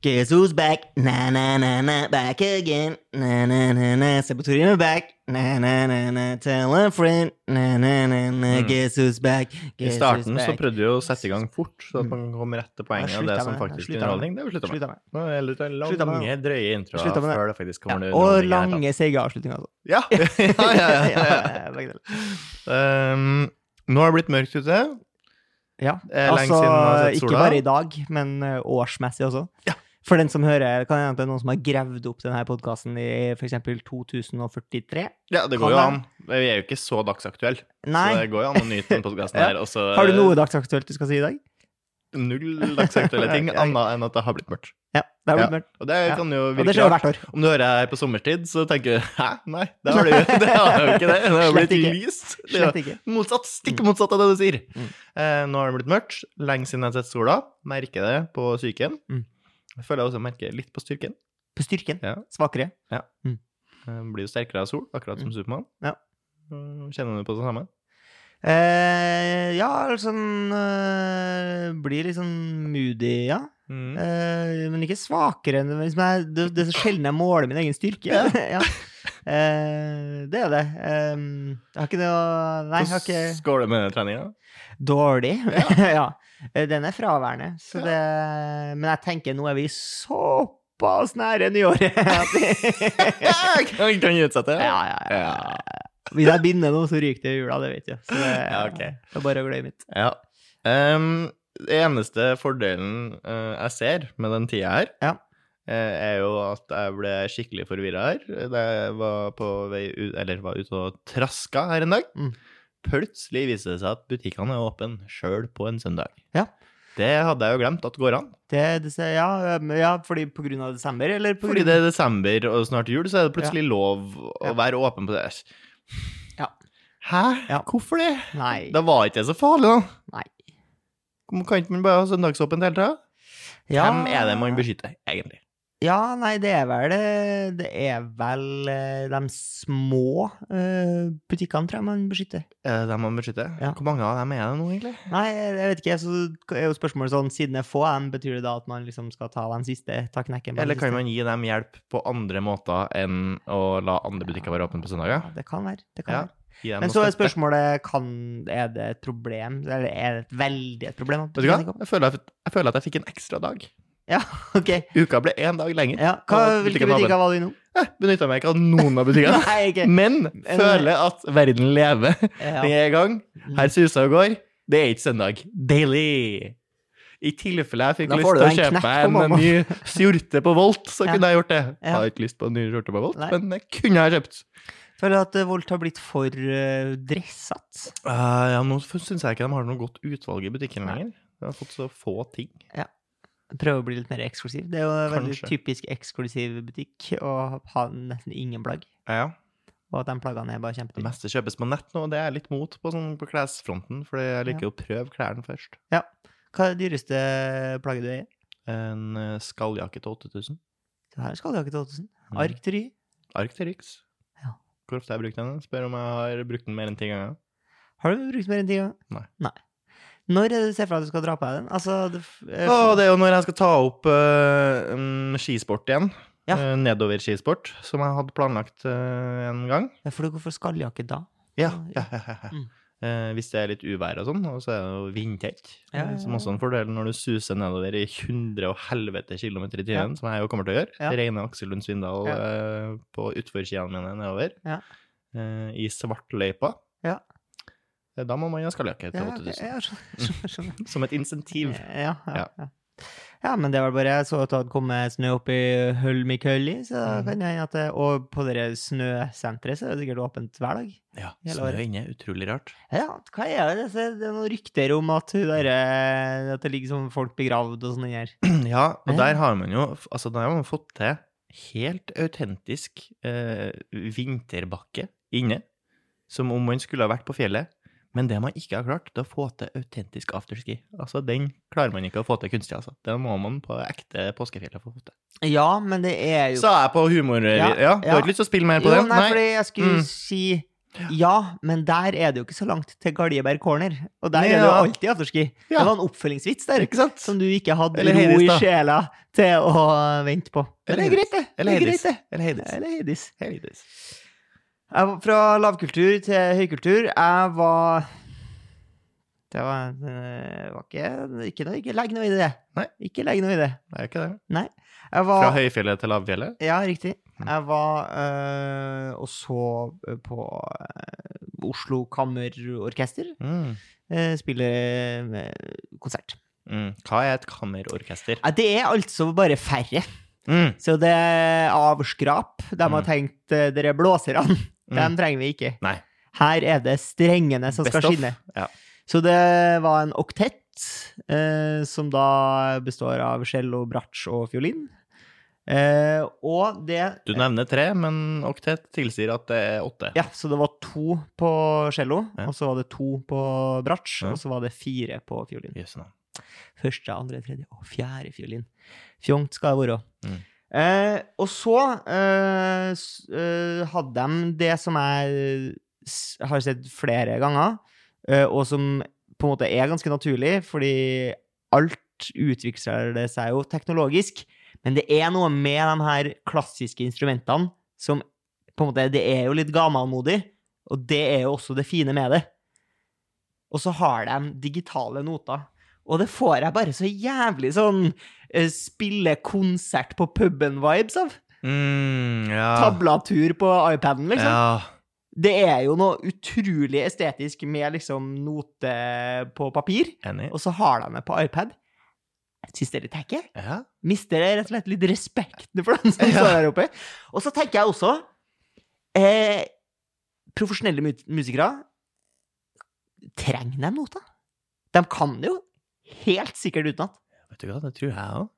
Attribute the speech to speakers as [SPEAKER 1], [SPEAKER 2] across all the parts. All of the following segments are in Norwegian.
[SPEAKER 1] Guess who's back? Na, na, na, na, back again. Na, na, na, na, Saboturino back. Na, na, na, na, tell a friend. Na, na, na, na,
[SPEAKER 2] Mm.
[SPEAKER 1] guess who's back?
[SPEAKER 2] I
[SPEAKER 1] Guess
[SPEAKER 2] starten
[SPEAKER 1] who's
[SPEAKER 2] så
[SPEAKER 1] back?
[SPEAKER 2] prøvde vi å sette i gang fort, så at man kom rett til poenget.
[SPEAKER 1] Jeg
[SPEAKER 2] og det
[SPEAKER 1] slutta
[SPEAKER 2] som
[SPEAKER 1] Mm. med det. Jeg
[SPEAKER 2] faktisk
[SPEAKER 1] slutta
[SPEAKER 2] er
[SPEAKER 1] med
[SPEAKER 2] underholdning, det har vi slutta med.
[SPEAKER 1] Slutta med det.
[SPEAKER 2] Nå er det litt
[SPEAKER 1] Slutta med
[SPEAKER 2] lange, drøye introer
[SPEAKER 1] Slutta med det.
[SPEAKER 2] før det faktisk
[SPEAKER 1] Ja,
[SPEAKER 2] kommer
[SPEAKER 1] og
[SPEAKER 2] underholdning i det hele tatt.
[SPEAKER 1] lange, seige avslutninger også.
[SPEAKER 2] Ja! ja, ja, ja, ja.
[SPEAKER 1] begge deler.
[SPEAKER 2] Um, nå har det blitt mørkt ute.
[SPEAKER 1] Ja,
[SPEAKER 2] Det er lenge
[SPEAKER 1] altså
[SPEAKER 2] siden man har sett
[SPEAKER 1] ikke
[SPEAKER 2] sola.
[SPEAKER 1] bare i dag, men eh, årsmessig også. For den som hører, kan hende at det er noen som har gravd opp denne podkasten i f.eks. 2043.
[SPEAKER 2] Ja, det
[SPEAKER 1] Kan
[SPEAKER 2] går jo an.
[SPEAKER 1] det?
[SPEAKER 2] Vi er jo ikke så dagsaktuelle.
[SPEAKER 1] Nei.
[SPEAKER 2] Så det går jo an å nyte den podkasten
[SPEAKER 1] Ja.
[SPEAKER 2] her. Og så
[SPEAKER 1] Har du noe dagsaktuelt du skal si i dag?
[SPEAKER 2] Null dagsaktuelle ting,
[SPEAKER 1] Ok.
[SPEAKER 2] annet enn at det har blitt mørkt.
[SPEAKER 1] Ja, det har blitt
[SPEAKER 2] Ja.
[SPEAKER 1] mørkt.
[SPEAKER 2] Og det
[SPEAKER 1] Ja.
[SPEAKER 2] kan jo
[SPEAKER 1] Og det
[SPEAKER 2] virke
[SPEAKER 1] skjer jo
[SPEAKER 2] rart.
[SPEAKER 1] hvert år.
[SPEAKER 2] Om du hører her på sommerstid, så tenker du hæ, nei, det har du jo det har jeg jo ikke. Det Det har jo
[SPEAKER 1] Slett
[SPEAKER 2] blitt
[SPEAKER 1] ikke.
[SPEAKER 2] lyst. Det er jo
[SPEAKER 1] Slett ikke.
[SPEAKER 2] Motsatt, Stikk motsatt av det du sier.
[SPEAKER 1] Mm.
[SPEAKER 2] Eh, nå har det blitt mørkt. Lenge siden jeg har sett sola. Merker det på psyken.
[SPEAKER 1] Mm.
[SPEAKER 2] Jeg føler jeg også merker litt på styrken.
[SPEAKER 1] På styrken.
[SPEAKER 2] Ja.
[SPEAKER 1] Svakere.
[SPEAKER 2] Eh, blir jo sterkere av sol, akkurat som Supermann.
[SPEAKER 1] Ja.
[SPEAKER 2] Mm, Kjenner du på det samme?
[SPEAKER 1] Eh, ja, altså sånn eh, Blir litt sånn moody, ja.
[SPEAKER 2] Mm.
[SPEAKER 1] Eh, men ikke svakere enn hvis jeg, det, det er så sjelden jeg måler min egen styrke.
[SPEAKER 2] Ja.
[SPEAKER 1] ja. Eh, det er det. Eh, jeg har ikke noe Nei, jeg har
[SPEAKER 2] Hvordan
[SPEAKER 1] ikke
[SPEAKER 2] går det med treninga?
[SPEAKER 1] Dårlig. Ja. Eh, Den er fraværende. Så
[SPEAKER 2] Ja.
[SPEAKER 1] det, men jeg tenker nå er vi såpass nære nyåret at vi-
[SPEAKER 2] kan, kan jeg utsette?
[SPEAKER 1] ja, ja, ja.
[SPEAKER 2] Ja.
[SPEAKER 1] Hvis jeg binder nå, så ryker det i jula, det vet jeg. Så det,
[SPEAKER 2] Ja, ok.
[SPEAKER 1] det er bare å glemme det.
[SPEAKER 2] Ja. Ehm, det eneste fordelen eh, jeg ser med den tida her,
[SPEAKER 1] Ja.
[SPEAKER 2] eh, er jo at jeg ble skikkelig forvirra her. Da jeg var på vei ut, eller var ute og traska her en dag,
[SPEAKER 1] Mm.
[SPEAKER 2] plutselig viste det seg at butikkene er åpne sjøl på en søndag.
[SPEAKER 1] Ja.
[SPEAKER 2] Det hadde jeg jo glemt at går an.
[SPEAKER 1] Det, det ser- ja, men ja, fordi på grunn av desember, eller på
[SPEAKER 2] Fordi
[SPEAKER 1] grunn
[SPEAKER 2] det er desember og snart jul, så er det plutselig lov å
[SPEAKER 1] Ja.
[SPEAKER 2] være åpen på det.
[SPEAKER 1] Ja.
[SPEAKER 2] Hæ?
[SPEAKER 1] Ja.
[SPEAKER 2] Hvorfor det?
[SPEAKER 1] Nei.
[SPEAKER 2] Da var ikke det så farlig, da.
[SPEAKER 1] Nei.
[SPEAKER 2] Hvorfor Kan ikke man bare ha søndagsåpent hele tida?
[SPEAKER 1] Ja.
[SPEAKER 2] Hvem er det man beskytter, egentlig?
[SPEAKER 1] Ja, nei, det er vel eh, Det er vel eh, de små eh, butikkene, tror jeg man beskytter.
[SPEAKER 2] Er det Eh, dem man beskytter?
[SPEAKER 1] Ja.
[SPEAKER 2] Hvor mange av dem er det nå, egentlig?
[SPEAKER 1] Nei, jeg vet ikke. Så er jo spørsmålet sånn, siden det er få av dem, betyr det da at man liksom skal ta den siste, ta knekken på den
[SPEAKER 2] Eller kan
[SPEAKER 1] siste?
[SPEAKER 2] man gi dem hjelp på andre måter enn å la andre butikker være åpne på søndager?
[SPEAKER 1] Ja, det kan være. Det kan
[SPEAKER 2] Ja.
[SPEAKER 1] være.
[SPEAKER 2] Gi dem
[SPEAKER 1] Men
[SPEAKER 2] noe
[SPEAKER 1] så er
[SPEAKER 2] støtte.
[SPEAKER 1] spørsmålet kan, Er det et problem, eller er det et veldig et problem? at
[SPEAKER 2] Vet du hva?
[SPEAKER 1] det ikke er åpent?
[SPEAKER 2] Jeg føler, at, jeg føler at jeg fikk en ekstra dag.
[SPEAKER 1] Ja, ok.
[SPEAKER 2] Uka ble én dag lenger.
[SPEAKER 1] Ja, hva,
[SPEAKER 2] Og
[SPEAKER 1] hvilke
[SPEAKER 2] butikken var
[SPEAKER 1] butikker var du innom?
[SPEAKER 2] Jeg benytta meg ikke av noen av butikkene.
[SPEAKER 1] Nei, ikke
[SPEAKER 2] Men føler at verden lever. Den
[SPEAKER 1] ja.
[SPEAKER 2] er i gang. Her suser og går. Det er ikke søndag. Deilig! I tilfelle jeg fikk
[SPEAKER 1] Da
[SPEAKER 2] lyst
[SPEAKER 1] får
[SPEAKER 2] til
[SPEAKER 1] du
[SPEAKER 2] å
[SPEAKER 1] en knekk
[SPEAKER 2] kjøpe
[SPEAKER 1] på
[SPEAKER 2] en
[SPEAKER 1] mamma.
[SPEAKER 2] ny skjorte på Volt, så
[SPEAKER 1] Ja.
[SPEAKER 2] kunne jeg gjort det.
[SPEAKER 1] Ja.
[SPEAKER 2] Jeg har ikke lyst på en ny skjorte på Volt,
[SPEAKER 1] Nei.
[SPEAKER 2] men det kunne jeg kjøpt.
[SPEAKER 1] Føler at eh, Volt har blitt for eh, dressete.
[SPEAKER 2] Eh, ja, nå syns jeg ikke de har noe godt utvalg i butikken lenger. De har fått så få ting.
[SPEAKER 1] Prøve å bli litt mer eksklusiv. Det er jo en veldig
[SPEAKER 2] Kanskje.
[SPEAKER 1] typisk eksklusiv butikk å ha nesten ingen plagg.
[SPEAKER 2] Ja, ja.
[SPEAKER 1] Og at de plaggene er bare
[SPEAKER 2] Det
[SPEAKER 1] kjempedyre.
[SPEAKER 2] meste kjøpes på nett nå, og det er jeg litt mot på, sånn, på klesfronten, for jeg liker å prøve klærne først.
[SPEAKER 1] Hva er det dyreste plagget du er i?
[SPEAKER 2] En eh, skalljakke til 8000.
[SPEAKER 1] Det her skal du ha ikke til 8000.
[SPEAKER 2] Mm.
[SPEAKER 1] Arkteri.
[SPEAKER 2] Arcterix.
[SPEAKER 1] Ja.
[SPEAKER 2] Hvor ofte har jeg brukt den? Spør om jeg har brukt den mer enn ti ganger.
[SPEAKER 1] Har du brukt mer enn ti ganger?
[SPEAKER 2] Nei.
[SPEAKER 1] Når er det du ser for deg at du skal dra på deg den? Altså, det, f- eh,
[SPEAKER 2] Å, det er jo når jeg skal ta opp eh, mm, skisport igjen.
[SPEAKER 1] Ja.
[SPEAKER 2] Eh, nedover skisport, som jeg hadde planlagt eh, en gang.
[SPEAKER 1] for du går for skalljakke da.
[SPEAKER 2] Ja.
[SPEAKER 1] Ja, Mm.
[SPEAKER 2] Eh, hvis det er litt uvær og sånn, og så er det jo vindtett.
[SPEAKER 1] Ja,
[SPEAKER 2] eh,
[SPEAKER 1] ja,
[SPEAKER 2] Som
[SPEAKER 1] ja.
[SPEAKER 2] også er en fordel når du suser nedover i 100 og helvete kilometer i timen, som jeg jo kommer til å gjøre.
[SPEAKER 1] Ja.
[SPEAKER 2] Reine Aksel Lund Svindal
[SPEAKER 1] Ja.
[SPEAKER 2] eh, på utforsidene mine nedover.
[SPEAKER 1] Ja.
[SPEAKER 2] Eh, I svartløypa.
[SPEAKER 1] Ja.
[SPEAKER 2] Eh, Da må man ha skalljakke til
[SPEAKER 1] Ja, ok,
[SPEAKER 2] 8000.
[SPEAKER 1] ja, skjønner, skjønner.
[SPEAKER 2] Som et insentiv.
[SPEAKER 1] Ja, ja,
[SPEAKER 2] Ja.
[SPEAKER 1] ja. ja, men det var bare jeg så at det hadde kommet snø opp i Hølmikølli, så da
[SPEAKER 2] Mhm.
[SPEAKER 1] kan det hende at det Og på det der snøsenteret så er det sikkert åpent hver dag.
[SPEAKER 2] Ja,
[SPEAKER 1] Hele
[SPEAKER 2] snø
[SPEAKER 1] året.
[SPEAKER 2] inne, utrolig rart.
[SPEAKER 1] Ja, hva er det? Det er- det er noen rykter om at, hun der, eh, at det ligger sånn folk begravd og sånn inni her.
[SPEAKER 2] Ja, og
[SPEAKER 1] Ja.
[SPEAKER 2] der har man jo altså der har man fått til helt autentisk eh, vinterbakke inne, som om man skulle ha vært på fjellet. Men det man ikke har klart, det er å få til autentisk afterski. Altså, Den klarer man ikke å få til kunstig. altså. Det må man på ekte påskefjellet få til.
[SPEAKER 1] Ja, men det er jo
[SPEAKER 2] Sa jeg på humor... Ja,
[SPEAKER 1] Ja,
[SPEAKER 2] Du har
[SPEAKER 1] ja.
[SPEAKER 2] ikke lyst til å spille mer på
[SPEAKER 1] jo,
[SPEAKER 2] den?
[SPEAKER 1] Nei,
[SPEAKER 2] Nei.
[SPEAKER 1] fordi jeg skulle
[SPEAKER 2] Mm.
[SPEAKER 1] si Ja, men der er det jo ikke så langt til Galjeberg corner. Og der
[SPEAKER 2] Nei,
[SPEAKER 1] er det jo
[SPEAKER 2] ja.
[SPEAKER 1] alltid afterski.
[SPEAKER 2] Ja.
[SPEAKER 1] Det var en oppfølgingsvits der
[SPEAKER 2] Ikke sant?
[SPEAKER 1] som du ikke hadde
[SPEAKER 2] Eller
[SPEAKER 1] ro i
[SPEAKER 2] Heidis, da.
[SPEAKER 1] sjela til å vente på. Men det
[SPEAKER 2] Eller
[SPEAKER 1] er greit, det.
[SPEAKER 2] Eller
[SPEAKER 1] det er
[SPEAKER 2] Heidis.
[SPEAKER 1] greit, det.
[SPEAKER 2] Eller Heidis.
[SPEAKER 1] Eller Heidis.
[SPEAKER 2] Heidis.
[SPEAKER 1] Jeg var fra lavkultur til høykultur. Jeg var Det var, det var ikke, ikke, noe, ikke legg noe i det.
[SPEAKER 2] Nei.
[SPEAKER 1] Ikke legg noe i det.
[SPEAKER 2] Det er ikke det.
[SPEAKER 1] Jeg
[SPEAKER 2] Fra
[SPEAKER 1] var,
[SPEAKER 2] høyfjellet til lavfjellet?
[SPEAKER 1] ja, riktig.
[SPEAKER 2] Mm.
[SPEAKER 1] Jeg var øh, og så eh, på øh, Oslo Kammerorkester
[SPEAKER 2] Mm.
[SPEAKER 1] øh, spille øh, konsert.
[SPEAKER 2] Mm. Hva er et kammerorkester?
[SPEAKER 1] Nei, Det er altså bare færre.
[SPEAKER 2] Mm.
[SPEAKER 1] Så det er av skrap. De
[SPEAKER 2] Mm.
[SPEAKER 1] har tenkt øh, dere blåserne. Dem
[SPEAKER 2] Mm.
[SPEAKER 1] trenger vi ikke.
[SPEAKER 2] Nei.
[SPEAKER 1] Her er det strengene som
[SPEAKER 2] Best
[SPEAKER 1] skal
[SPEAKER 2] of.
[SPEAKER 1] skinne.
[SPEAKER 2] Ja.
[SPEAKER 1] Så det var en oktett, eh, som da består av cello, bratsj og fiolin. Eh, og det
[SPEAKER 2] Du nevner tre, men oktet tilsier at det er åtte.
[SPEAKER 1] Ja, så det var to på cello,
[SPEAKER 2] Ja.
[SPEAKER 1] og så var det to på bratsj,
[SPEAKER 2] Ja.
[SPEAKER 1] og så var det fire på fiolin.
[SPEAKER 2] Jøss, navn.
[SPEAKER 1] Første, andre, tredje og fjerde fiolin. Fjongt skal det være.
[SPEAKER 2] Mm.
[SPEAKER 1] Eh, og så eh, s- eh, hadde de det som jeg s- har sett flere ganger, eh, og som på en måte er ganske naturlig, fordi alt utvikler det seg jo teknologisk. Men det er noe med de her klassiske instrumentene som på en måte, Det er jo litt gammelmodig, og det er jo også det fine med det. Og så har de digitale noter. Og det får jeg bare så jævlig sånn eh, spille konsert på puben-vibes av.
[SPEAKER 2] Mm, ja.
[SPEAKER 1] Tablatur på iPaden, liksom.
[SPEAKER 2] Ja.
[SPEAKER 1] Det er jo noe utrolig estetisk med liksom note på papir,
[SPEAKER 2] Enig.
[SPEAKER 1] og så har de det på iPad. Jeg syns det er litt tacky.
[SPEAKER 2] Ja.
[SPEAKER 1] Mister jeg rett og slett litt respekten for dem som
[SPEAKER 2] Ja.
[SPEAKER 1] står der oppe. Og så tenker jeg også eh, Profesjonelle mu musikere Trenger de noter? De kan det jo helt sikkert utenat.
[SPEAKER 2] Vet du hva, det tror jeg òg.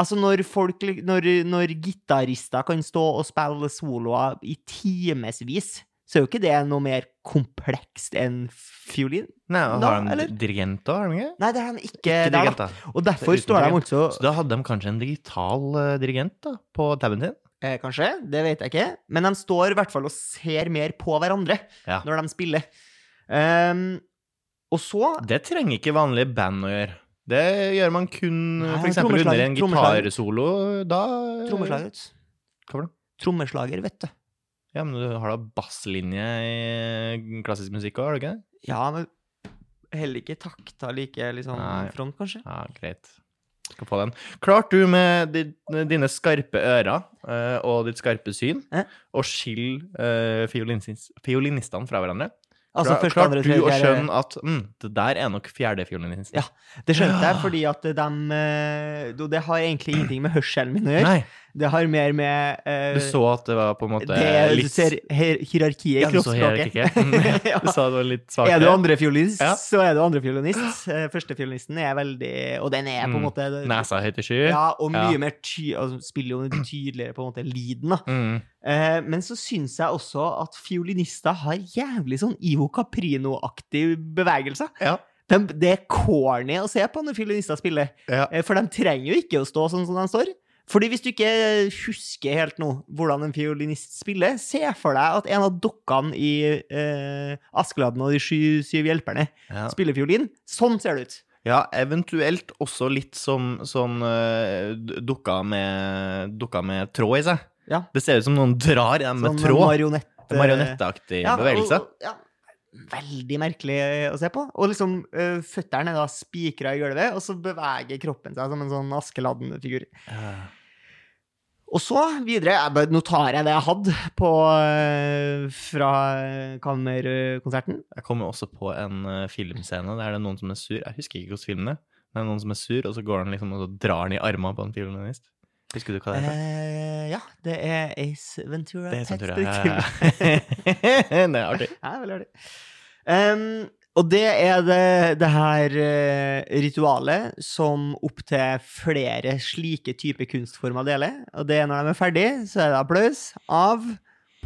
[SPEAKER 1] Altså når folk Når, når gitarister kan stå og spille soloer i timevis, så er jo ikke det noe mer komplekst enn fiolin.
[SPEAKER 2] Nei, og
[SPEAKER 1] Da,
[SPEAKER 2] har de
[SPEAKER 1] eller?
[SPEAKER 2] di- dirigent òg, har de ikke?
[SPEAKER 1] Nei, det er de ikke.
[SPEAKER 2] Ikke
[SPEAKER 1] der, da.
[SPEAKER 2] dirigent, da.
[SPEAKER 1] Og derfor står de
[SPEAKER 2] Uten
[SPEAKER 1] altså
[SPEAKER 2] Så da hadde de kanskje en digital eh, dirigent da, på taben sin?
[SPEAKER 1] eh, Kanskje, det vet jeg ikke. Men de står i hvert fall og ser mer på hverandre
[SPEAKER 2] Ja.
[SPEAKER 1] når de spiller. Ehm, og så
[SPEAKER 2] Det trenger ikke vanlige band å gjøre. Det gjør man kun
[SPEAKER 1] Nei,
[SPEAKER 2] f.eks. under
[SPEAKER 1] trommeslager,
[SPEAKER 2] en
[SPEAKER 1] trommeslager.
[SPEAKER 2] gitarsolo. Da
[SPEAKER 1] Trommeslager, vet du.
[SPEAKER 2] Hva var det?
[SPEAKER 1] Trommeslager, vet du.
[SPEAKER 2] Ja, men du har da basslinje i klassisk musikk òg, har du ikke det?
[SPEAKER 1] Ja, men heller ikke takta like liksom
[SPEAKER 2] Nei.
[SPEAKER 1] front, kanskje.
[SPEAKER 2] Ja, greit. Skal få den. Klarte du med di- dine skarpe ører eh, og ditt skarpe syn
[SPEAKER 1] Ja.
[SPEAKER 2] å skille eh, fiolinis- fiolinistene fra hverandre?
[SPEAKER 1] Altså
[SPEAKER 2] Klar-
[SPEAKER 1] første,
[SPEAKER 2] Klarte
[SPEAKER 1] andre,
[SPEAKER 2] du å
[SPEAKER 1] tredje, fjerde-
[SPEAKER 2] skjønne at mm, det der er nok fjerdefiolinisten?
[SPEAKER 1] Ja, Det skjønte jeg,
[SPEAKER 2] Ja.
[SPEAKER 1] fordi at de eh, jo, Det har egentlig ingenting med hørselen min å gjøre.
[SPEAKER 2] Nei,
[SPEAKER 1] Det har mer med eh,
[SPEAKER 2] du så at det var på en måte
[SPEAKER 1] det,
[SPEAKER 2] litt
[SPEAKER 1] Du ser hier hierarkiet i
[SPEAKER 2] Ja, du så
[SPEAKER 1] kroppsspråket.
[SPEAKER 2] hierarkiet.
[SPEAKER 1] Ja.
[SPEAKER 2] Mm, Du sa det var litt svakt.
[SPEAKER 1] Er du andrefiolinist,
[SPEAKER 2] Ja.
[SPEAKER 1] så er du andrefiolinist. Eh, Førstefiolinisten er veldig Og den er på en
[SPEAKER 2] Mm.
[SPEAKER 1] måte
[SPEAKER 2] Nesa høyt i sky.
[SPEAKER 1] Ja, og mye
[SPEAKER 2] Ja.
[SPEAKER 1] mer ty altså, spiller jo tydeligere på en måte lyden, da.
[SPEAKER 2] Mm.
[SPEAKER 1] Eh, men så syns jeg også at fiolinister har jævlig sånn Ivo Caprino-aktig bevegelse.
[SPEAKER 2] Ja.
[SPEAKER 1] De, det er corny å se på når fiolinister spiller,
[SPEAKER 2] Ja.
[SPEAKER 1] Eh, for de trenger jo ikke å stå sånn som de står. Fordi hvis du ikke husker helt nå hvordan en fiolinist spiller, se for deg at en av dokkene i eh, Askeladden og de sju syv hjelperne
[SPEAKER 2] Ja.
[SPEAKER 1] spiller fiolin. Sånn ser det ut.
[SPEAKER 2] ja, eventuelt også litt som, som eh, d- dukka, med, dukka med tråd i seg.
[SPEAKER 1] Ja.
[SPEAKER 2] Det ser ut som noen drar i dem med
[SPEAKER 1] Sånn
[SPEAKER 2] tråd.
[SPEAKER 1] marionett... eh,
[SPEAKER 2] Marionetteaktig
[SPEAKER 1] ja,
[SPEAKER 2] bevegelse.
[SPEAKER 1] og- ja. Veldig merkelig å se på. Og liksom, uh, føttene er da spikra i gulvet, og så beveger kroppen seg som en sånn Askeladden-figur.
[SPEAKER 2] Ja.
[SPEAKER 1] Og så videre jeg bare, Nå tar jeg det jeg hadde på, eh, fra Kammerkonserten.
[SPEAKER 2] Jeg kommer også på en eh, filmscene der det er noen som er sur. Jeg husker ikke hvordan filmen er. Men det er noen som er sur, og så går han liksom og så drar han i armene på en filminist. Husker du hva det heter?
[SPEAKER 1] Eh, ja, det er Ace Ventura.
[SPEAKER 2] det er sånn, tror
[SPEAKER 1] Pet Detective.
[SPEAKER 2] jeg. Det er artig.
[SPEAKER 1] Ja, veldig artig. Em, og det er det, det her eh, ritualet som opptil flere slike typer kunstformer deler. Og det er når de er ferdig, så er det applaus av,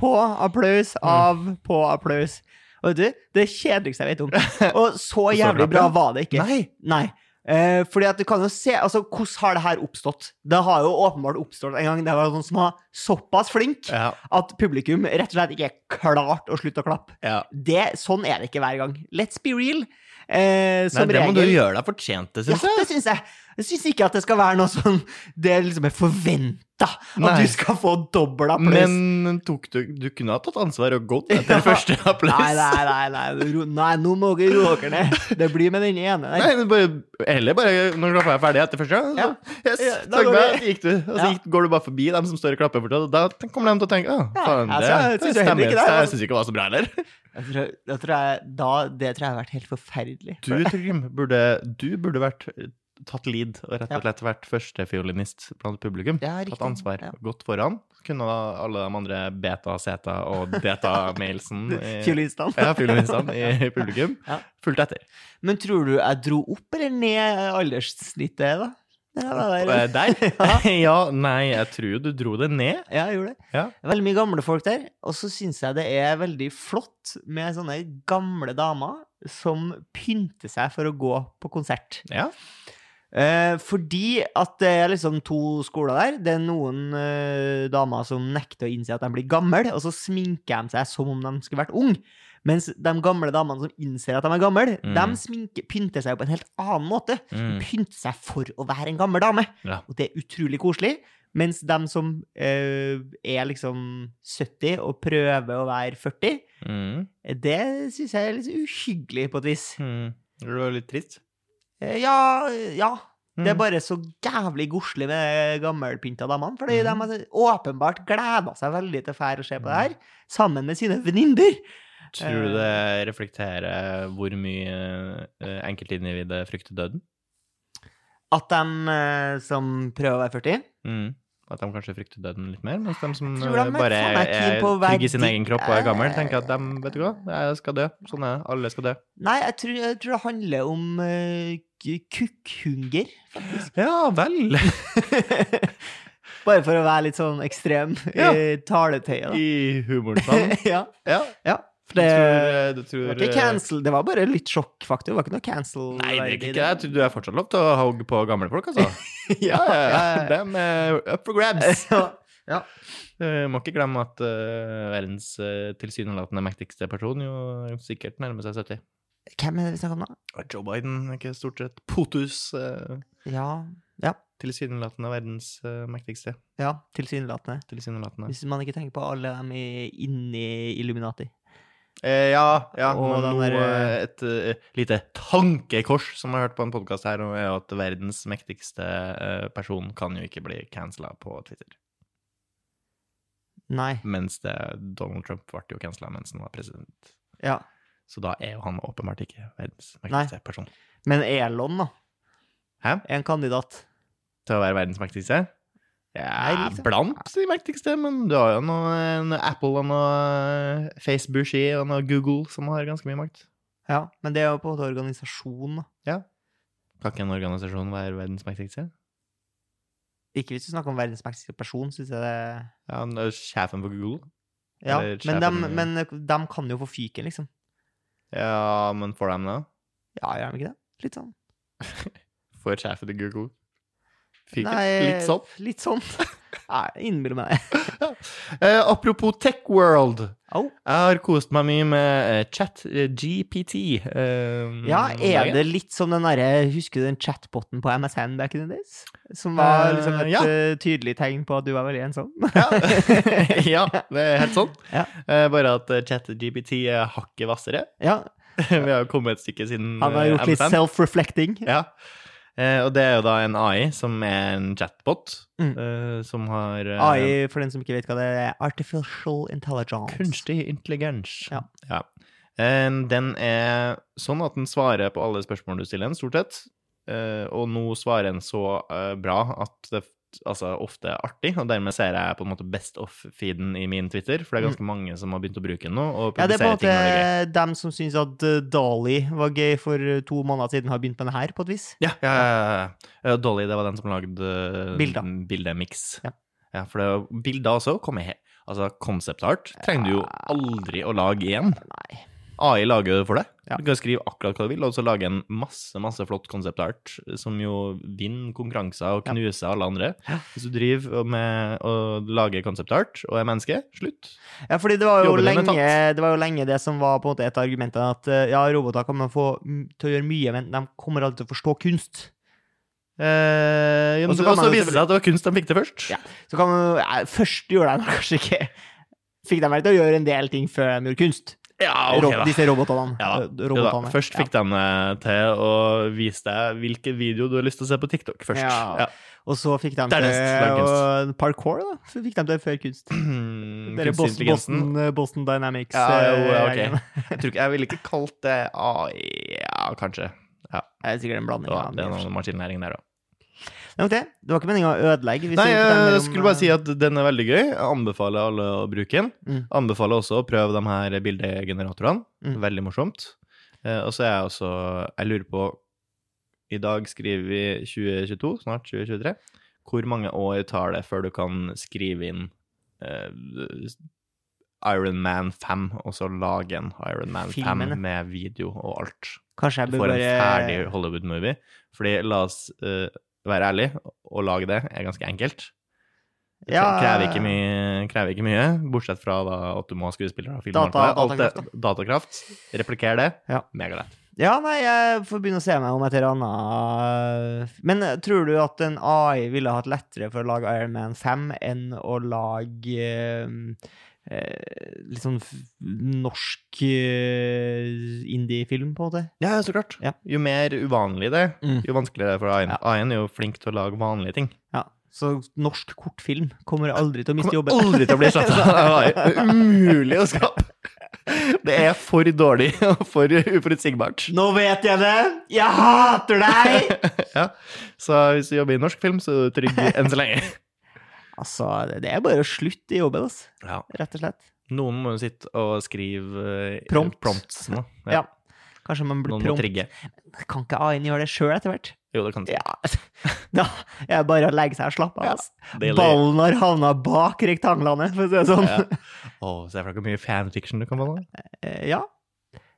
[SPEAKER 1] på, applaus av, på, applaus. Og vet du, det er det kjedeligste jeg vet om. Og så
[SPEAKER 2] Forstår du
[SPEAKER 1] jævlig bra
[SPEAKER 2] det?
[SPEAKER 1] var det ikke.
[SPEAKER 2] Nei!
[SPEAKER 1] Nei. Eh, fordi at du kan jo se, altså Hvordan har det her oppstått? Det har jo åpenbart oppstått en gang det var noen som var såpass flink
[SPEAKER 2] Ja,
[SPEAKER 1] at publikum rett og slett ikke er klart å slutte å klappe.
[SPEAKER 2] ja.
[SPEAKER 1] Det, sånn er det ikke hver gang. Let's be real. Eh,
[SPEAKER 2] Nei,
[SPEAKER 1] som
[SPEAKER 2] det må
[SPEAKER 1] regel
[SPEAKER 2] du gjøre deg fortjent til,
[SPEAKER 1] ja,
[SPEAKER 2] syns jeg.
[SPEAKER 1] det syns jeg. Jeg syns ikke at det skal være noe sånn Det liksom er forventa at
[SPEAKER 2] Nei.
[SPEAKER 1] du skal få dobbel applaus.
[SPEAKER 2] Men tok du, du kunne ha tatt ansvar og gått etter
[SPEAKER 1] Ja.
[SPEAKER 2] første applaus.
[SPEAKER 1] Nei, nei, nei, nei, ro, nei, nå må dere roe dere ned. Det blir med den ene der.
[SPEAKER 2] Nei, men bare, eller bare når klappa er ferdig etter første gang.
[SPEAKER 1] Ja.
[SPEAKER 2] så, Yes,
[SPEAKER 1] Ja, da
[SPEAKER 2] takk
[SPEAKER 1] går
[SPEAKER 2] for
[SPEAKER 1] vi.
[SPEAKER 2] meg. Gikk du. Og så
[SPEAKER 1] Ja.
[SPEAKER 2] gikk, går du bare forbi dem som står og klapper fortsatt, og da kommer de til å tenke Å,
[SPEAKER 1] Ja,
[SPEAKER 2] faen,
[SPEAKER 1] altså,
[SPEAKER 2] det,
[SPEAKER 1] jeg
[SPEAKER 2] det
[SPEAKER 1] synes jo heller
[SPEAKER 2] stemmer.
[SPEAKER 1] ikke det, altså.
[SPEAKER 2] Jeg syns ikke det var så bra heller.
[SPEAKER 1] Jeg tror, jeg tror jeg, da, det tror jeg har vært helt forferdelig.
[SPEAKER 2] Du, Trym, burde, du burde vært tatt lead og rett
[SPEAKER 1] Ja.
[SPEAKER 2] og slett vært førstefiolinist blant publikum.
[SPEAKER 1] Ja, riktig.
[SPEAKER 2] Tatt ansvar.
[SPEAKER 1] Ja.
[SPEAKER 2] Gått foran. Kunne da alle de andre beta, zeta og deta-mailsen i-
[SPEAKER 1] Fiolinistene.
[SPEAKER 2] ja, fiolinistene i publikum
[SPEAKER 1] Ja.
[SPEAKER 2] fulgt etter.
[SPEAKER 1] Men tror du jeg dro opp eller ned alderssnittet, da? Ja, det
[SPEAKER 2] Eh,
[SPEAKER 1] der.
[SPEAKER 2] Der?
[SPEAKER 1] Ja.
[SPEAKER 2] Ja, nei, jeg tror jo du dro det ned.
[SPEAKER 1] ja, jeg gjorde det.
[SPEAKER 2] Ja.
[SPEAKER 1] Det er Veldig mye gamle folk der. Og så syns jeg det er veldig flott med sånne gamle damer som pynter seg for å gå på konsert.
[SPEAKER 2] Ja.
[SPEAKER 1] Eh, fordi at det er liksom to skoler der. Det er noen eh, damer som nekter å innse at de blir gamle, og så sminker de seg som om de skulle vært unge. Mens de gamle damene som innser at de er gamle,
[SPEAKER 2] Mm.
[SPEAKER 1] de sminker, pynter seg jo på en helt annen måte.
[SPEAKER 2] Mm.
[SPEAKER 1] Pynter seg for å være en gammel dame.
[SPEAKER 2] Ja.
[SPEAKER 1] Og det er utrolig koselig. Mens de som eh, er liksom 70 og prøver å være 40,
[SPEAKER 2] Mm.
[SPEAKER 1] det syns jeg er litt uhyggelig på et vis.
[SPEAKER 2] Det var litt trist.
[SPEAKER 1] Eh, ja, ja. Det er
[SPEAKER 2] Mm.
[SPEAKER 1] bare så jævlig godslig med gammelpynta damene. Fordi
[SPEAKER 2] Mhm.
[SPEAKER 1] de har åpenbart gleda seg veldig til å fære og se på det
[SPEAKER 2] Mm.
[SPEAKER 1] her, sammen med sine venninner.
[SPEAKER 2] Tror du
[SPEAKER 1] eh,
[SPEAKER 2] det reflekterer hvor mye eh, enkeltindividet frykter døden?
[SPEAKER 1] At de eh, som prøver å være 40
[SPEAKER 2] Mm. At de kanskje frykter døden litt mer, mens de som
[SPEAKER 1] Jeg tror de
[SPEAKER 2] eh,
[SPEAKER 1] er
[SPEAKER 2] bare
[SPEAKER 1] faen meg keen
[SPEAKER 2] er
[SPEAKER 1] på å være
[SPEAKER 2] trygge i sin
[SPEAKER 1] de- Eh.
[SPEAKER 2] egen kropp og er gammel, tenker at de vet du hva, jeg skal dø. Sånn er det. Alle skal dø.
[SPEAKER 1] Nei, jeg tror, jeg tror det handler om eh, k- kukkhunger.
[SPEAKER 2] Ja vel!
[SPEAKER 1] Bare for å være litt sånn ekstrem
[SPEAKER 2] Ja.
[SPEAKER 1] i taletøyet.
[SPEAKER 2] I humorens
[SPEAKER 1] da.
[SPEAKER 2] navn.
[SPEAKER 1] ja.
[SPEAKER 2] Ja.
[SPEAKER 1] ja.
[SPEAKER 2] Du
[SPEAKER 1] Det,
[SPEAKER 2] tror, eh, du
[SPEAKER 1] det, var
[SPEAKER 2] tror
[SPEAKER 1] ikke cancel, det var bare litt sjokkfaktor. Det var ikke noe cancel.
[SPEAKER 2] Nei, det er ikke det. Jeg tror Du er fortsatt lov til å hogge på gamle folk, altså.
[SPEAKER 1] ja, ja, ja.
[SPEAKER 2] Dem er up for grabs.
[SPEAKER 1] Så-
[SPEAKER 2] Eh, må ikke glemme at eh, verdens eh, tilsynelatende mektigste person jo sikkert nærmer seg 70.
[SPEAKER 1] Hvem er det vi snakker om, da?
[SPEAKER 2] Og Joe Biden er ikke stort sett potus eh,
[SPEAKER 1] Ja,
[SPEAKER 2] tilsynelatende verdens eh, mektigste.
[SPEAKER 1] ja tilsynelatende.
[SPEAKER 2] Tilsynelatende.
[SPEAKER 1] Hvis man ikke tenker på alle dem i- inni Illuminati.
[SPEAKER 2] Eh, ja, ja.
[SPEAKER 1] Og
[SPEAKER 2] men
[SPEAKER 1] den
[SPEAKER 2] nå,
[SPEAKER 1] der, eh,
[SPEAKER 2] eh, et eh, lite tankekors som jeg har hørt på en podkast her, og er jo at verdens mektigste eh, person kan jo ikke bli cancela på Twitter.
[SPEAKER 1] Nei.
[SPEAKER 2] Mens det, Donald Trump ble jo cancela mens han var president.
[SPEAKER 1] Ja.
[SPEAKER 2] Så da er jo han åpenbart ikke verdens
[SPEAKER 1] Nei.
[SPEAKER 2] mektigste person.
[SPEAKER 1] Men Elon, da?
[SPEAKER 2] Hæ?
[SPEAKER 1] En kandidat.
[SPEAKER 2] til å være verdens mektigste? Ja,
[SPEAKER 1] Nei, liksom.
[SPEAKER 2] blant de mektigste, men du har jo noe, noe Apple og noe Facebooshi og noe Google som har ganske mye makt.
[SPEAKER 1] Ja, men det er jo på en måte organisasjon, da.
[SPEAKER 2] Kan ikke en organisasjon være verdens mektigste?
[SPEAKER 1] Ikke hvis du snakker om verdens mektigste person, syns jeg det
[SPEAKER 2] Ja, han er sjefen for Google.
[SPEAKER 1] Ja,
[SPEAKER 2] Eller
[SPEAKER 1] men
[SPEAKER 2] sjefen,
[SPEAKER 1] dem, men dem kan jo få fyken, liksom.
[SPEAKER 2] Ja, men får de det?
[SPEAKER 1] Ja, gjør de ikke det? Litt sånn.
[SPEAKER 2] Får sjefen til Google fyken?
[SPEAKER 1] Nei,
[SPEAKER 2] Litt sånn.
[SPEAKER 1] Litt sånn. Nei, innbiller meg det.
[SPEAKER 2] Eh, apropos Tech World.
[SPEAKER 1] Au.
[SPEAKER 2] Jeg har kost meg mye med eh, chat eh, GPT. eh,
[SPEAKER 1] Ja,
[SPEAKER 2] om
[SPEAKER 1] er
[SPEAKER 2] dagen.
[SPEAKER 1] det litt som den derre Husker du den chatboten på MSN back in the days? Som var
[SPEAKER 2] Eh,
[SPEAKER 1] liksom et
[SPEAKER 2] ja.
[SPEAKER 1] eh, tydelig tegn på at du var veldig ensom?
[SPEAKER 2] Ja. ja, det er helt sånn.
[SPEAKER 1] Ja.
[SPEAKER 2] Eh, Bare at eh, ChatGPT er hakket hvassere.
[SPEAKER 1] ja.
[SPEAKER 2] Vi har jo kommet et stykke siden
[SPEAKER 1] Han har
[SPEAKER 2] eh,
[SPEAKER 1] gjort litt
[SPEAKER 2] MSN.
[SPEAKER 1] self-reflecting.
[SPEAKER 2] Ja. Eh, Og det er jo da en AI, som er en chatbot,
[SPEAKER 1] Mm.
[SPEAKER 2] eh, som har eh,
[SPEAKER 1] AI, for den som ikke vet hva det er, artificial intelligence.
[SPEAKER 2] kunstig intelligens.
[SPEAKER 1] Ja.
[SPEAKER 2] Eh, Den er sånn at den svarer på alle spørsmål du stiller den, stort sett. Eh, Og nå svarer den så eh, bra at det f- altså, ofte er artig, og dermed ser jeg på en måte best off-feeden i min Twitter, for det er ganske mange som har begynt å bruke den nå, og
[SPEAKER 1] Mm. Ja, det er på en
[SPEAKER 2] publiserer ting
[SPEAKER 1] måte
[SPEAKER 2] når det er gøy.
[SPEAKER 1] dem som syns at eh, Dali var gøy for eh, to måneder siden, har begynt med det her, på et vis.
[SPEAKER 2] Ja, ja, ja, ja. Eh, Dolly, det var den som lagde
[SPEAKER 1] Bilder.
[SPEAKER 2] bildet. bildemix.
[SPEAKER 1] Ja.
[SPEAKER 2] Ja. for det var bilder også kom i he- Altså, concept art trenger du jo aldri å lage igjen.
[SPEAKER 1] Nei.
[SPEAKER 2] AI lager jo det for deg.
[SPEAKER 1] Ja.
[SPEAKER 2] Du kan skrive akkurat hva du vil, og så lage en masse masse flott concept art eh, som jo vinner konkurranser og
[SPEAKER 1] Ja.
[SPEAKER 2] knuser alle andre.
[SPEAKER 1] Ja.
[SPEAKER 2] Hvis du driver og med og lager concept art og er menneske, slutt.
[SPEAKER 1] Ja, fordi det var, jo
[SPEAKER 2] Jobben din er
[SPEAKER 1] lenge, det var jo lenge det som var på en måte et av argumentene, at eh, ja, roboter kommer få m- til å gjøre mye, men de kommer aldri til å forstå kunst.
[SPEAKER 2] Eh, ja,
[SPEAKER 1] Og
[SPEAKER 2] men
[SPEAKER 1] så
[SPEAKER 2] så
[SPEAKER 1] kan man jo
[SPEAKER 2] viser det seg at det var kunst de fikk til først.
[SPEAKER 1] Ja. Så kan man, ja, først gjorde de kanskje ikke Fikk de vel til å gjøre en del ting før de gjorde kunst?
[SPEAKER 2] Ja, Ah, ok
[SPEAKER 1] Rob-
[SPEAKER 2] da.
[SPEAKER 1] Disse robotene.
[SPEAKER 2] Ja,
[SPEAKER 1] eh,
[SPEAKER 2] Jo da.
[SPEAKER 1] robotene.
[SPEAKER 2] Først fikk de eh, til å vise deg hvilken video du har lyst til å se på TikTok først.
[SPEAKER 1] Ja. ja. Og så fikk de
[SPEAKER 2] Dernest
[SPEAKER 1] til
[SPEAKER 2] lag
[SPEAKER 1] og parkour, da. Så fikk de til før kunst. Dere
[SPEAKER 2] Mm, Kunstig
[SPEAKER 1] Boston,
[SPEAKER 2] intelligensen.
[SPEAKER 1] Boston, eh, Boston Dynamics.
[SPEAKER 2] Ja, jo, ja,
[SPEAKER 1] eh,
[SPEAKER 2] ok. Jeg, tror ikke, jeg ville ikke kalt det AI, ja, kanskje.
[SPEAKER 1] Det er sikkert en blanding.
[SPEAKER 2] Det, var,
[SPEAKER 1] av mye
[SPEAKER 2] det er
[SPEAKER 1] forskjellig.
[SPEAKER 2] noe maskinlæring der òg.
[SPEAKER 1] Nok det. Det var ikke meninga å ødelegge. hvis
[SPEAKER 2] Nei,
[SPEAKER 1] vi forteller
[SPEAKER 2] jeg
[SPEAKER 1] om,
[SPEAKER 2] skulle bare
[SPEAKER 1] eh,
[SPEAKER 2] si at den er veldig gøy. Jeg anbefaler alle å bruke den.
[SPEAKER 1] Mm.
[SPEAKER 2] Anbefaler også å prøve de her bildegeneratorene.
[SPEAKER 1] Mm.
[SPEAKER 2] Veldig morsomt. Eh, Og så er jeg også Jeg lurer på I dag skriver vi 2022, snart 2023. Hvor mange år tar det før du kan skrive inn eh, Iron Man 5, og så lage en Iron Man 5
[SPEAKER 1] Filmene.
[SPEAKER 2] med video og alt?
[SPEAKER 1] eh, Kanskje jeg
[SPEAKER 2] Du
[SPEAKER 1] bør
[SPEAKER 2] får en
[SPEAKER 1] bare
[SPEAKER 2] ferdig Hollywood-movie. Fordi, la oss eh, være ærlig, å lage det er ganske enkelt. Det
[SPEAKER 1] Ja. eh,
[SPEAKER 2] krever, ikke mye, krever ikke mye, bortsett fra da, at du må ha skuespillere og film.
[SPEAKER 1] Data-
[SPEAKER 2] datakraft. datakraft. Replikker det.
[SPEAKER 1] Ja.
[SPEAKER 2] Megalett.
[SPEAKER 1] Ja, nei, jeg får begynne å se meg om et eller annet. Men eh, tror du at en AI ville hatt lettere for å lage Iron Man 5 enn å lage eh, eh, litt sånn f- norsk eh, indie-film, på en måte?
[SPEAKER 2] Ja, så klart.
[SPEAKER 1] Ja.
[SPEAKER 2] Jo mer uvanlig det er,
[SPEAKER 1] Mm.
[SPEAKER 2] jo vanskeligere er det for AI-en.
[SPEAKER 1] Ja.
[SPEAKER 2] AI-en er jo flink til å lage vanlige ting.
[SPEAKER 1] Ja. Så norsk kortfilm kommer aldri til å miste
[SPEAKER 2] Kommer
[SPEAKER 1] jobben.
[SPEAKER 2] aldri til å bli sletta av AI. Det er Umulig å skape. Det er for dårlig og for uforutsigbart.
[SPEAKER 1] Nå vet jeg det! Jeg hater deg!
[SPEAKER 2] Ja. Så hvis du jobber i norsk film, så er du trygg enn så lenge.
[SPEAKER 1] altså, det- det er bare å slutte i jobben, altså.
[SPEAKER 2] Ja.
[SPEAKER 1] Rett og slett.
[SPEAKER 2] Noen må jo sitte og skrive eh,
[SPEAKER 1] Prompt.
[SPEAKER 2] prompts nå.
[SPEAKER 1] Ja. Kanskje man blir
[SPEAKER 2] Noen må
[SPEAKER 1] prompt.
[SPEAKER 2] trigge.
[SPEAKER 1] Kan ikke AI-en gjøre det sjøl etter hvert?
[SPEAKER 2] Jo, det kan du si.
[SPEAKER 1] Ja, da er det bare å legge seg og slappe av. ass.
[SPEAKER 2] Daily.
[SPEAKER 1] Ballen har havna bak rektanglene, for å si det sånn.
[SPEAKER 2] Ja. Å, se for deg hvor mye fanfiction du kan få nå.
[SPEAKER 1] Eh, ja.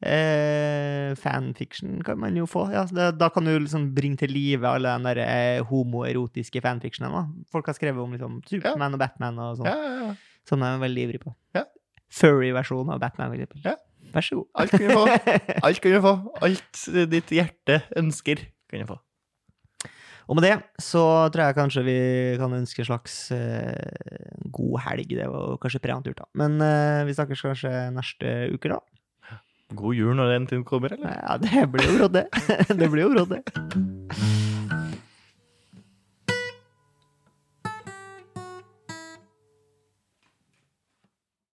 [SPEAKER 1] Eh, fanfiction kan man jo få. Ja, det, da kan du liksom bringe til live alle de der eh, homoerotiske fanfictionene. da. Folk har skrevet om liksom, Superman og Batman og sånn.
[SPEAKER 2] Ja, ja, ja.
[SPEAKER 1] Sånn er jeg veldig ivrig på.
[SPEAKER 2] Ja.
[SPEAKER 1] Furry-versjonen av Batman, for eksempel.
[SPEAKER 2] Ja.
[SPEAKER 1] Vær så god.
[SPEAKER 2] Alt kan du få. Alt kan du få. Alt ditt hjerte ønsker, kan du få.
[SPEAKER 1] Og med det så tror jeg kanskje vi kan ønske en slags eh, god helg. Det var jo kanskje preanturt, da. Men eh, vi snakkes kanskje neste uke, da.
[SPEAKER 2] God jul når den tiden kommer, eller?
[SPEAKER 1] Ja, det blir jo råd, det. Det blir jo råd, det.